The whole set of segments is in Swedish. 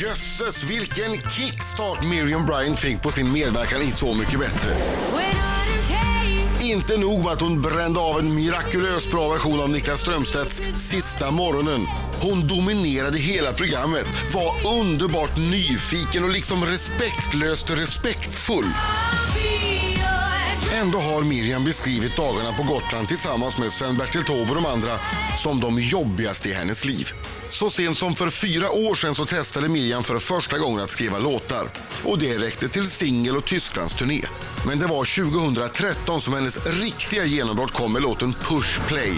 Jösses vilken kickstart Miriam Bryant fick på sin medverkan i Så mycket bättre. When autumn came, Inte nog med att hon brände av en mirakulöst bra version av Niklas Strömstedts Sista morgonen. Hon dominerade hela programmet, var underbart nyfiken och liksom respektlöst respektfull. I'll be your Ändå har Miriam beskrivit dagarna på Gotland tillsammans med Sven-Bertil Taube och de andra som de jobbigaste i hennes liv. Så sent som för fyra år sedan så testade Miriam för första gången att skriva låtar. Och det räckte till singel och Tysklands turné. Men det var 2013 som hennes riktiga genombrott kom med låten Push Play.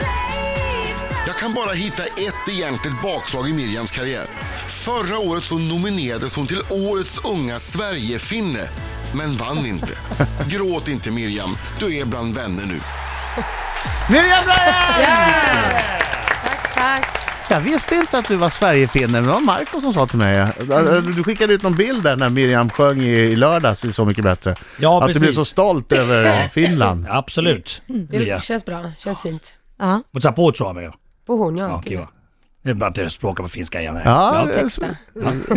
place. Jag kan bara hitta ett egentligt bakslag i Miriams karriär. Förra året så nominerades hon till Årets unga Sverigefinne, men vann inte. Gråt inte Miriam, du är bland vänner nu. Miriam Bryant! Tack. Jag visste inte att du var Sverigefinne, men det var Marco som sa till mig. Mm. Du skickade ut någon bild där när Miriam sjöng i, i lördags i Så mycket bättre. Ja, att du precis. blev så stolt över Finland. Absolut. Mm. Det Ja. känns bra, känns fint. Ja, Och så på tror jag med. På hon ja. Ja, kiva. Det är bara att jag språkar på finska igen här. Ja,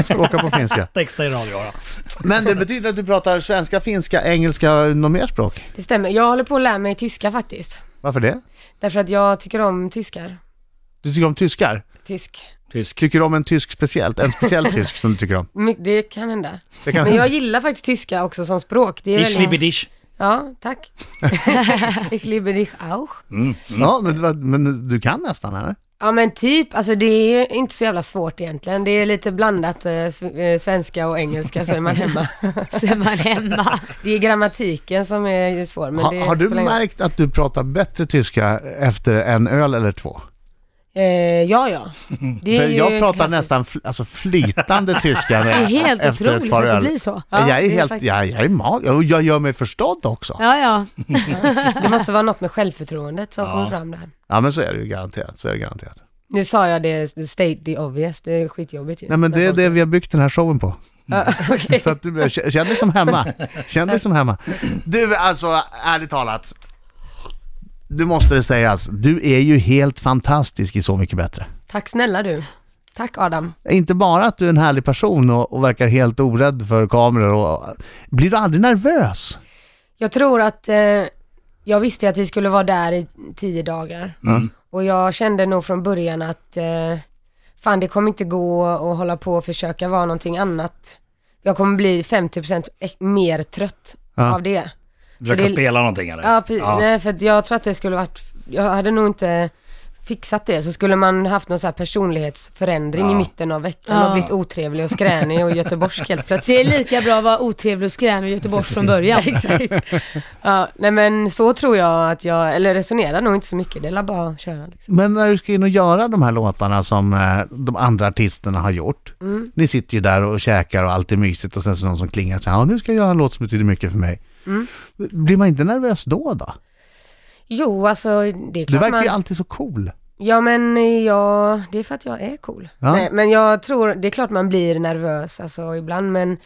språka på finska. Texta i radio, ja. Men det betyder att du pratar svenska, finska, engelska, något mer språk? Det stämmer. Jag håller på att lära mig tyska faktiskt. Varför det? Därför att jag tycker om tyskar. Du tycker om tyskar? Tysk. Tysk. Tycker du om en tysk speciellt? En speciell tysk som du tycker om? My- Det kan hända. Det kan- Men jag gillar faktiskt tyska också som språk. Det är Ich liebe väldigt... dich. Ja, tack. ich liebe dich auch. Ja, men, vad- men du kan nästan, eller? Ja men typ, alltså det är inte så jävla svårt egentligen. Det är lite blandat eh, sv- eh, svenska och engelska så är man hemma. så är man hemma. Det är grammatiken som är svår. Men det Ha, har du spelar ingen- märkt att du pratar bättre tyska efter en öl eller två? Eh, ja, ja. Det För ju jag pratar klassiskt. nästan fl- alltså flytande tyska Det är helt efter ett otroligt par att det öl. blir så. Ja, jag är det är helt, faktiskt- jag, jag är mag- och jag gör mig förstådd också. Ja. Ja, ja. Det måste vara något med självförtroendet som kommer fram där. men så är det ju garanterat, så är det garanterat. Nu sa jag det, state the obvious, det är skitjobbigt ju. Nej men det är det vi har byggt den här showen på. Ja, okej. Så att du, k- känn dig som hemma. Känn dig som hemma. Du, alltså ärligt talat. Du måste det sägas, du är ju helt fantastisk i Så Mycket Bättre. Tack snälla du. Tack Adam. Inte bara att du är en härlig person och, och verkar helt orädd för kameror och... Blir du aldrig nervös? Jag tror att eh, jag visste att vi skulle vara där i tio dagar. Mm. Och jag kände nog från början att eh, fan det kommer inte gå att hålla på och försöka vara någonting annat. Jag kommer bli 50% e- mer trött Ja. av det. Försöka det- spela någonting eller? Ja, pre- Nej, för att jag tror att det skulle varit, jag hade nog inte fixat det, så skulle man haft någon så här personlighetsförändring i Ja. mitten av veckan Ja. och blivit otrevlig och skränig och göteborgsk helt Det plötsligt. är lika bra att vara otrevlig och skränig i Göteborg från början. Exakt. Ja, nej men så tror jag att jag, eller resonerar nog inte så mycket, det är la bara att köra liksom. Men när du ska in och göra de här låtarna som eh, de andra artisterna har gjort. Ni sitter ju där och käkar och allt är mysigt och sen så är det någon som klingar så här, ja nu ska jag göra en låt som betyder mycket för mig. Blir man inte nervös då då? Jo, alltså det är Du klart verkar ju man... alltid så cool. Ja men jag, det är för att jag är cool. Ja. Nej, men jag tror, det är klart man blir nervös alltså ibland men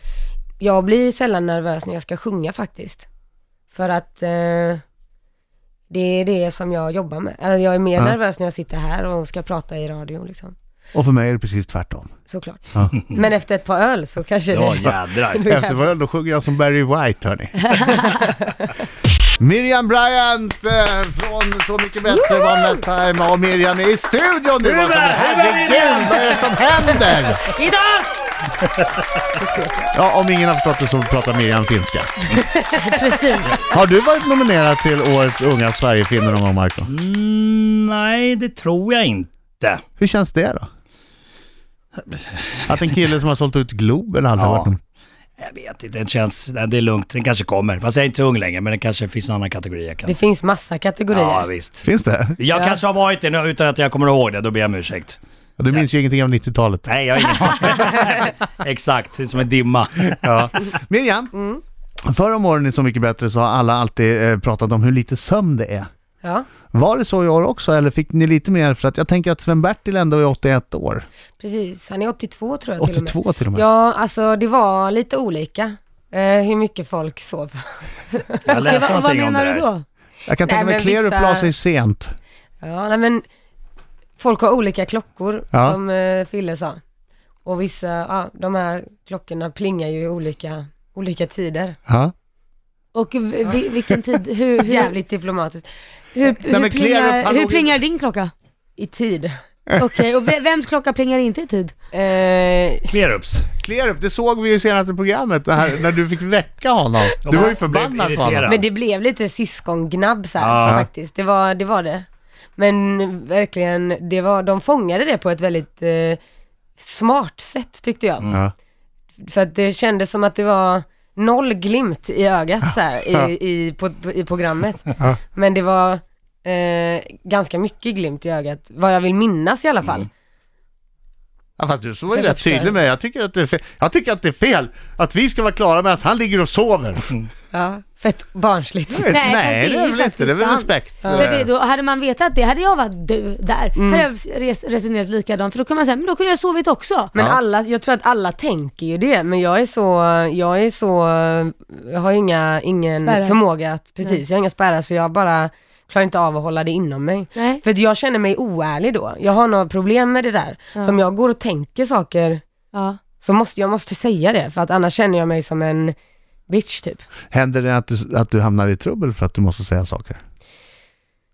jag blir sällan nervös när jag ska sjunga faktiskt. För att eh, det är det som jag jobbar med. Eller jag är mer Ja. nervös när jag sitter här och ska prata i radio liksom. Och för mig är det precis tvärtom. Såklart. Ja. Men efter ett par öl så kanske Ja, det... jädrar. Efter varandra då sjunger jag som Barry White hörni. Miriam Bryant eh, från Så Mycket Bättre One Last Time och Miriam är i studion nu! Alltså, Hurra, hurra, Herregud, Miriam! vad är det som händer? Ja, om ingen har förstått det så pratar Miriam finska. Precis. Har du varit nominerad till Årets unga Sverigefinne någon gång, Marco? Mm, nej, det tror jag inte. Hur känns det då? Att en kille som har sålt ut Globen aldrig Ja. varit nominerad. Jag vet inte, det känns... Nej, det är lugnt, den kanske kommer. Fast jag är inte ung längre, men det kanske finns en annan kategori jag kan... Det finns massa kategorier. Ja, visst. Finns det? Jag kanske har varit det nu utan att jag kommer ihåg det, då ber jag om ursäkt. Ja, Du minns ju ingenting av 90-talet. Nej, jag har ingen aning. Exakt, det är som en dimma. Ja. Miriam, Mm. förra om åren är Så Mycket Bättre så har alla alltid eh, pratat om hur lite sömn det är. ja. Var det så i år också eller fick ni lite mer? För att jag tänker att Sven-Bertil ändå är 81 år. Precis, han är 82 tror jag till och med. 82 till och med. Ja, alltså det var lite olika eh, hur mycket folk sov. Jag läste Vad, vad någonting om det menar du där. då? Jag kan Nej, tänka mig men Kleerup vissa- la sig sent. Ja, nej men folk har olika klockor Ja. som eh, Fille sa. Och vissa, ja, de här klockorna plingar ju i olika, olika tider. Ja. Och vi- vi, vilken tid, hur, hur, hur, Jävligt diplomatiskt. hur, men klär upp, plingar, hallå. hur plingar din klocka? I tid. Okej, och ve- vems klocka plingar inte i tid? Eh, Clearups. Klerup, det såg vi ju i senaste programmet det här, när du fick väcka honom. Du var ju förbannad på honom. Men det blev lite syskongnabb så här, Ja. faktiskt. Det var, det var det. Men verkligen, det var, de fångade det på ett väldigt eh, smart sätt tyckte jag. Ja. För att det kändes som att det var noll glimt i ögat så här, i, i, på, på, i programmet. Ja. Men det var eh, ganska mycket glimt i ögat, vad jag vill minnas i alla fall. Mm. Ja, fast du så var ju Kanske rätt tydlig förstör. med jag tycker, att det är fel. jag tycker att det är fel att vi ska vara klara med att han ligger och sover. Ja, fett barnsligt. Nej, fast det är väl inte. faktiskt Det är väl sant. respekt. Mm. För det, då, hade man vetat det, hade jag varit du där, hade jag res, resonerat likadant. För då kan man säga, men då kunde jag sovit också. Men Ja. alla, jag tror att alla tänker ju det, men jag är så, jag är så, jag har ju inga, ingen Spärrar. förmåga att, precis, jag har inga spärrar så jag bara klarar inte av att hålla det inom mig. Nej. För att jag känner mig oärlig då. Jag har några problem med det där. Som jag går och tänker saker, Ja. så måste jag måste säga det, för att annars känner jag mig som en bitch typ. Händer det att du, att du hamnar i trubbel för att du måste säga saker?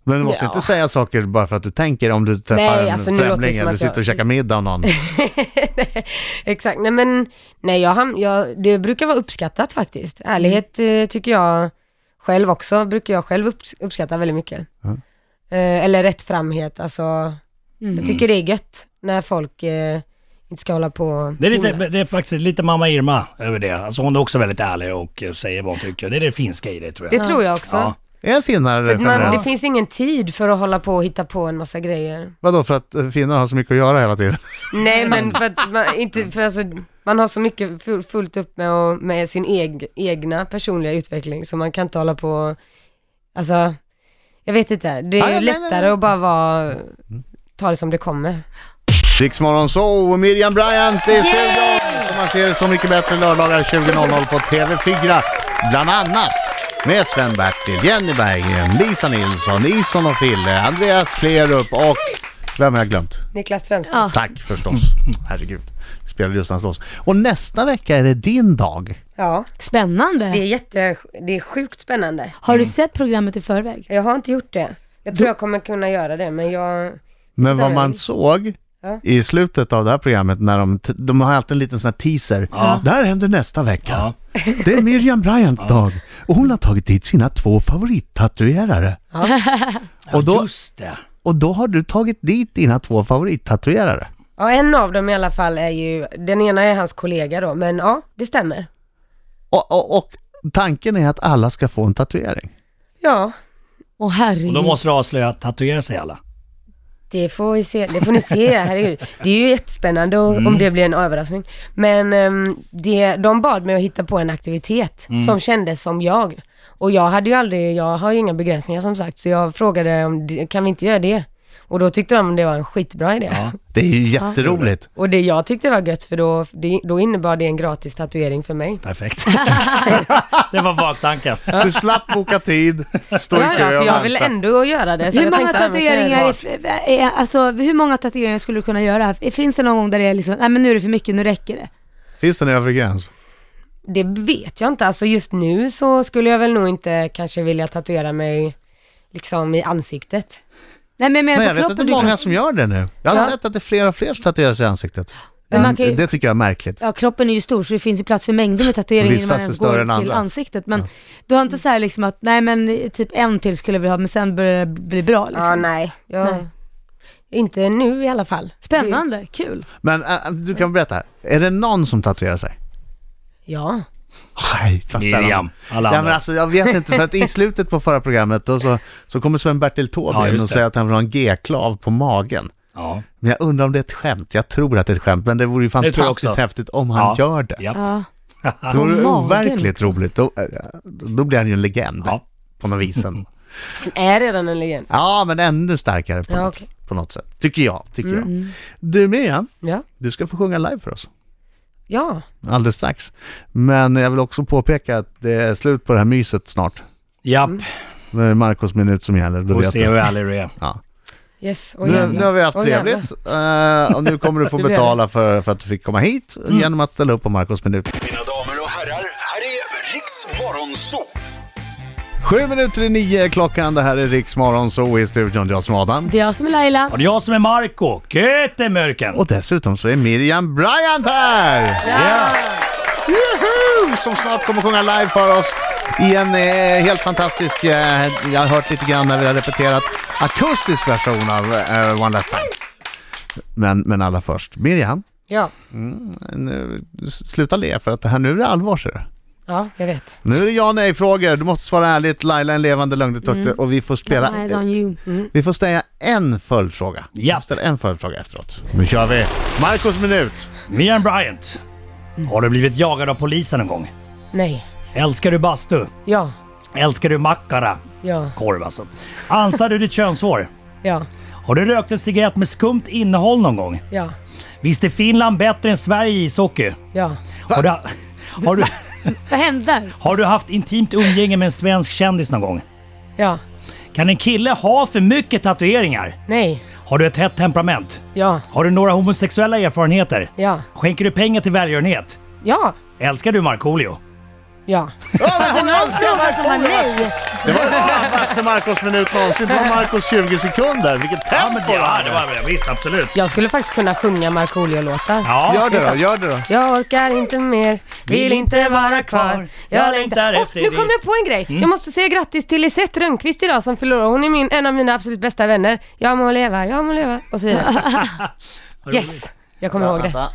Men du måste Ja. inte säga saker bara för att du tänker om du träffar Nej, en alltså, nu låter det främling som eller att sitter jag- och käkar middag och någon. Exakt, nej men, nej jag, ham- jag, det brukar vara uppskattat faktiskt. Ärlighet eh, tycker jag själv också, brukar jag själv upp, uppskatta väldigt mycket. Mm. Eh, eller rättframhet, alltså. Jag tycker det är gött när folk eh, inte ska hålla på och Det är, lite, himla. det är faktiskt lite mamma Irma över det. Alltså hon är också väldigt ärlig och eh, säger vad hon tycker. Det är det finska i det tror jag. Det tror jag också. Ja. Är finnare För att man, generellt? det finns ingen tid för att hålla på och hitta på en massa grejer. Vadå, för att eh, finnar har så mycket att göra hela tiden? Nej men för att man, inte, för alltså, man har så mycket full, fullt upp med, och, med sin eg, egna personliga utveckling så man kan inte hålla på och- alltså, jag vet inte, det Ja, är ja, ju nej, nej, lättare nej. att bara vara, ta det som det kommer. Riksmorgon så, Miriam Bryant i studion! Som man ser Så mycket bättre lördagar 20.00 på TV4. Bland annat med Sven-Bertil, Jenny Berggren, Lisa Nilsson, Ison och Fille, Andreas Klerup och... Vem har jag glömt? Niklas Strömstedt. Ja. Tack förstås. Herregud. Vi spelade just hans lås. Och nästa vecka är det din dag. Ja, Spännande. det är jätte, det är sjukt spännande. Har du sett programmet i förväg? Jag har inte gjort det. Jag tror jag kommer kunna göra det men jag, Men vad Där. man såg Ja. i slutet av det här programmet när de... t- De har alltid en liten sån här teaser. Ja. Det här händer nästa vecka. Ja. Det är Miriam Bryants dag och hon har tagit dit sina två favorittatuerare. Och, Ja, då, Just det. och då har du tagit dit dina två favorittatuerare. ja en av dem i alla fall är ju, den ena är hans kollega då men ja, det stämmer. Och, och, och tanken är att alla ska få en tatuering. Ja, Åh herregud. Och då måste du avslöja att tatuera sig alla. Det får vi se, det får ni se, herregud. Det är ju jättespännande och, om det blir en överraskning. Men ehm, det, de bad mig att hitta på en aktivitet som kändes som jag. Och jag hade ju aldrig, jag har ju inga begränsningar som sagt, så jag frågade om, det- kan vi inte göra det? Och då tyckte de det var en skitbra idé. Det är ju jätteroligt. Och det jag tyckte var gött för då, det, då innebar det en gratis tatuering för mig. Perfekt. det var baktanken. Du slapp boka tid, stå i Ja, ja, kö för och jag ville vänta. ändå göra det. Så Hur jag många, tänkte, ja, men kan jag- tatueringar är, är, alltså, hur många tatueringar skulle du kunna göra? Finns det någon gång där det är liksom, nej men nu är det för mycket, nu räcker det. Finns det en övre gräns? Det vet jag inte. Alltså just nu så skulle jag väl nog inte kanske vilja tatuera mig liksom i ansiktet. Nej men jag menar Men på jag vet kroppen. inte du- många som gör det nu. Jag har Ja. sett att det är fler och fler som tatuerar sig i ansiktet. Men man kan ju- Det tycker jag är märkligt. Ja, kroppen är ju stor så det finns ju plats för mängder med tatueringar Vissa innan man ser ens större går än till andra. ansiktet. Men du har inte så här liksom att, nej men typ en till skulle vi ha, men sen börjar det bli bra liksom. Ja, nej. Jag... Nej. Inte nu i alla fall. Spännande, kul. Men äh, du kan berätta, är det någon som tatuerar sig? Ja. Nej, vad spännande. Miriam, alla Ja, men andra. alltså, jag vet inte, för att i slutet på förra programmet då, så, så kommer Sven-Bertil Taube Ja, in just och det. säger att han vill ha en G-klav på magen. Ja. Men jag undrar om det är ett skämt. Jag tror att det är ett skämt, men det vore ju tror jag fantastiskt också. häftigt om han Ja. gör det. Ja. Ja. Det vore På magen liksom. overkligt också. roligt. Då, äh, då blir han ju en legend Ja. på något vis. ändå. Han är redan en legend. Ja, men ännu starkare på, Ja, något, okej. Mm, på något sätt. Tycker jag. Tycker jag. Du Miriam, Ja. du ska få sjunga live för oss. Ja. Alldeles strax. Men jag vill också påpeka att det är slut på det här myset snart. Japp, Det är Marcos minut som gäller. Då får vet se hur du. ärlig du är. Ja. Yes, och Nu, jävlar. nu har vi haft Och jävlar. trevligt eh, och nu kommer du få Du blir betala för, för att du fick komma hit Mm. genom att ställa upp på Marcos minut. Mina damer och herrar, här är Riks Morgonzoo! Sju minuter i nio är klockan, det här är Riks Morgonzoo i studion, jag som är Adam. Det är jag som är Laila. Och det är jag som är Marco Götemörken. Och dessutom så är Miriam Bryant här! Ja. Juhu! Som snart kommer sjunga live för oss i en eh, helt fantastisk, eh, jag har hört lite grann när vi har repeterat, akustisk version av eh, One Last Time. Men, men allra först, Miriam, Ja, nu, s- sluta le för att det här, nu är det allvar ser du. ja, jag vet. Nu är det ja nej-frågor, du måste svara ärligt, Laila är en levande lögndetektor och vi får spela... Eyes on you. Mm. Vi får ställa en följdfråga. Ja. Ställ en följdfråga efteråt. Nu kör vi! Marcos minut! Miriam Bryant. Har du blivit jagad av polisen någon gång? Nej. Älskar du bastu? Ja, Älskar du mackara? ja, Korv alltså. Ansar du ditt könshår? ja, Har du rökt en cigarett med skumt innehåll någon gång? ja, Visst är Finland bättre än Sverige i ishockey? ja. Har du, har, du, Vad händer? har du haft intimt umgänge med en svensk kändis någon gång? Ja, Kan en kille ha för mycket tatueringar? nej, Har du ett hett temperament? ja, Har du några homosexuella erfarenheter? ja, Skänker du pengar till välgörenhet? ja, Älskar du Markoolio? ja. Fast Det var en fråga som var nej. Det var den snabbaste Marcos minut någonsin. Det var Marcos 20 sekunder. Vilket tempo! ja, det var visst absolut. Jag skulle faktiskt kunna sjunga Markoolio-låtar. Ja. Gör det då, gör det då. Jag orkar inte mer, vill inte vara kvar. Jag längtar efter Nu dig. kom jag på en Mm. grej! Jag måste säga grattis till Lisette Rönnqvist idag som förlorar. Hon är min, en av mina absolut bästa vänner. Jag må leva, jag må leva och så vidare. Yes! Jag kommer ihåg det.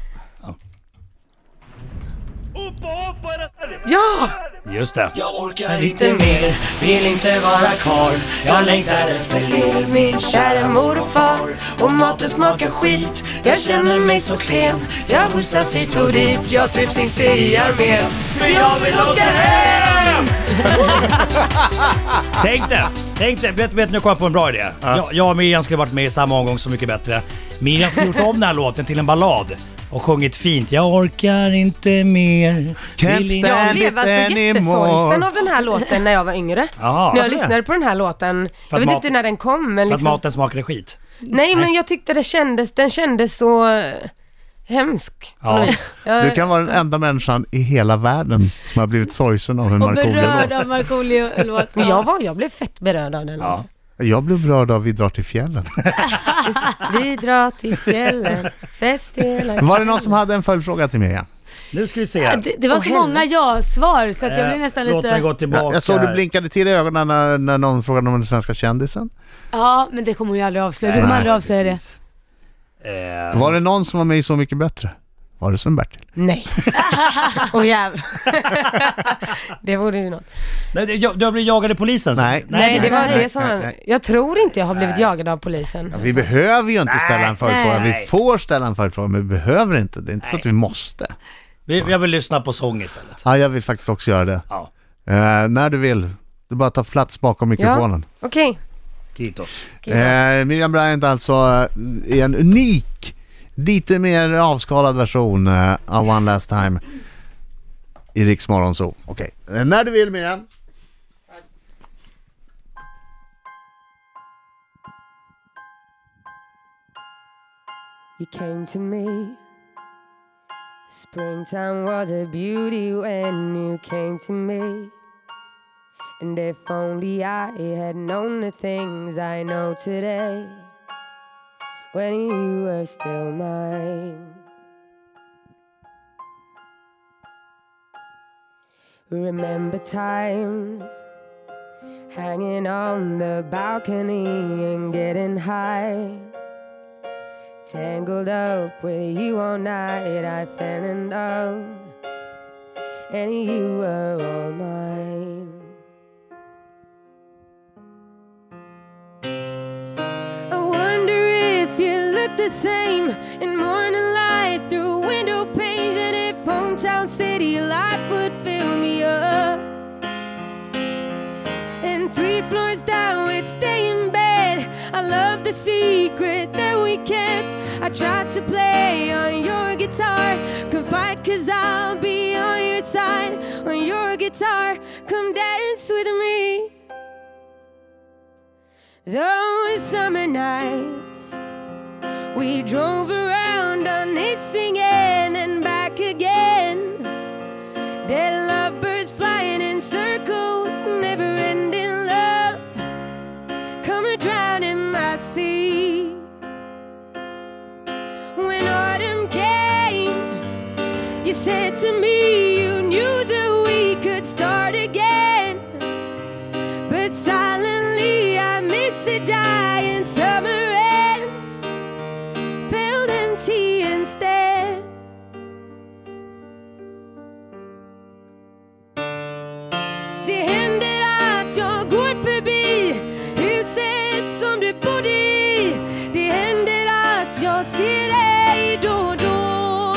Ja! Just det. Jag orkar inte mer, vill inte vara kvar Jag längtar efter er, min kära mor och far Och maten smakar skit, jag känner mig så klen Jag skjutsas hit och dit, jag trivs inte i armén För jag vill åka hem! Tänk dig! Tänk dig! Vet, vet nu kom jag på en bra idé. Jag, jag och Miriam skulle varit med i samma omgång Så Mycket Bättre. Miriam skulle gjort om den här låten till en ballad och sjungit fint. Jag orkar inte mer. Can't vill inte- stand- Jag blev alltså Bandit jättesorgsen anymore. av den här låten när jag var yngre. Jaha. när jag lyssnade på den här låten, jag vet mat- inte när den kom men För att liksom, maten smakade skit. Nej men jag tyckte det kändes, den kändes så eh, hemsk på Ja. något vis. Jag, Du kan vara den enda människan i hela världen som har blivit sorgsen av en Och Markoolio berörd av Markoolio-låten. Men jag, var, jag blev fett berörd av den Ja. låten. Jag blev berörd av Vi drar till fjällen. Vi drar till fjällen, fest hela Var det någon som hade en följdfråga till Miriam? Nu ska vi se. Det, det var Åh, så många ja-svar så att jag blev Eh, nästan Låt mig lite... gå tillbaka. Ja, jag såg du blinkade till i ögonen när, när någon frågade om den svenska kändisen. Ja, men det kommer hon ju aldrig avslöja. Du kommer aldrig avslöja det. det. Var det någon som var med i Så mycket bättre? Var det Sven-Bertil? Nej. Åh jävlar. det vore ju något. Nej, det- jag, jag blev jagad av polisen. så- Nej. Nej, det var nej, det som nej, var- nej. Jag tror inte jag har blivit jagad av polisen. Vi behöver ju inte ställa en följdfråga. Vi nej. får ställa en följdfråga, men vi behöver inte. Det är inte så att vi måste. Vi, jag vill lyssna på sång istället. Ja, jag vill faktiskt också göra det. Ja. Eh, när du vill. Du bara ta plats bakom mikrofonen. Okej. Kitos. Eh, Miriam Bryant alltså eh, i en unik, lite mer avskalad version eh, av One Last Time i Riks Morgonzoo. Okej, eh, när du vill Miriam. You came to me. Springtime was a beauty when you came to me. And if only I had known the things I know today when you were still mine. Remember times hanging on the balcony and getting high. Tangled up with you all night, I fell in love, and you were all mine. I wonder if you look the same in morning light through window panes, and if hometown city life would fill me up. And three floors down, we'd stay in bed. I love the secret that we kept. I tried to play on your guitar. Confide, cause I'll be on your side. On your guitar, come dance with me. Those summer nights we drove around on Hisingen and back again. Dead lovebirds flying in circles, never ending love. Come or drown in my sea. When autumn came, you said to me you knew that we could start again. But silently I miss the dying summer and felt empty instead. Det händer att jag går förbi huset som du bodde i. Det händer att jag ser dig då och då.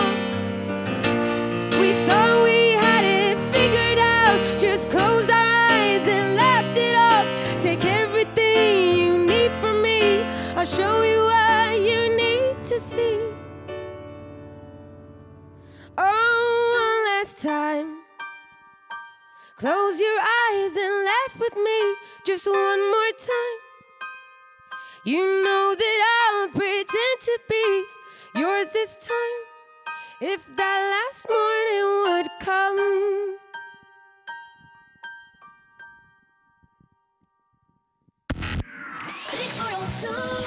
We thought we had it figured out. Just closed our eyes and laughed it off. Take everything you need from me. I'll show you what you need to see. Oh, one last time. Close your eyes and laugh with me. Just one more time. You know that I'll pretend to be yours this time. If that last morning would come Riks-FM.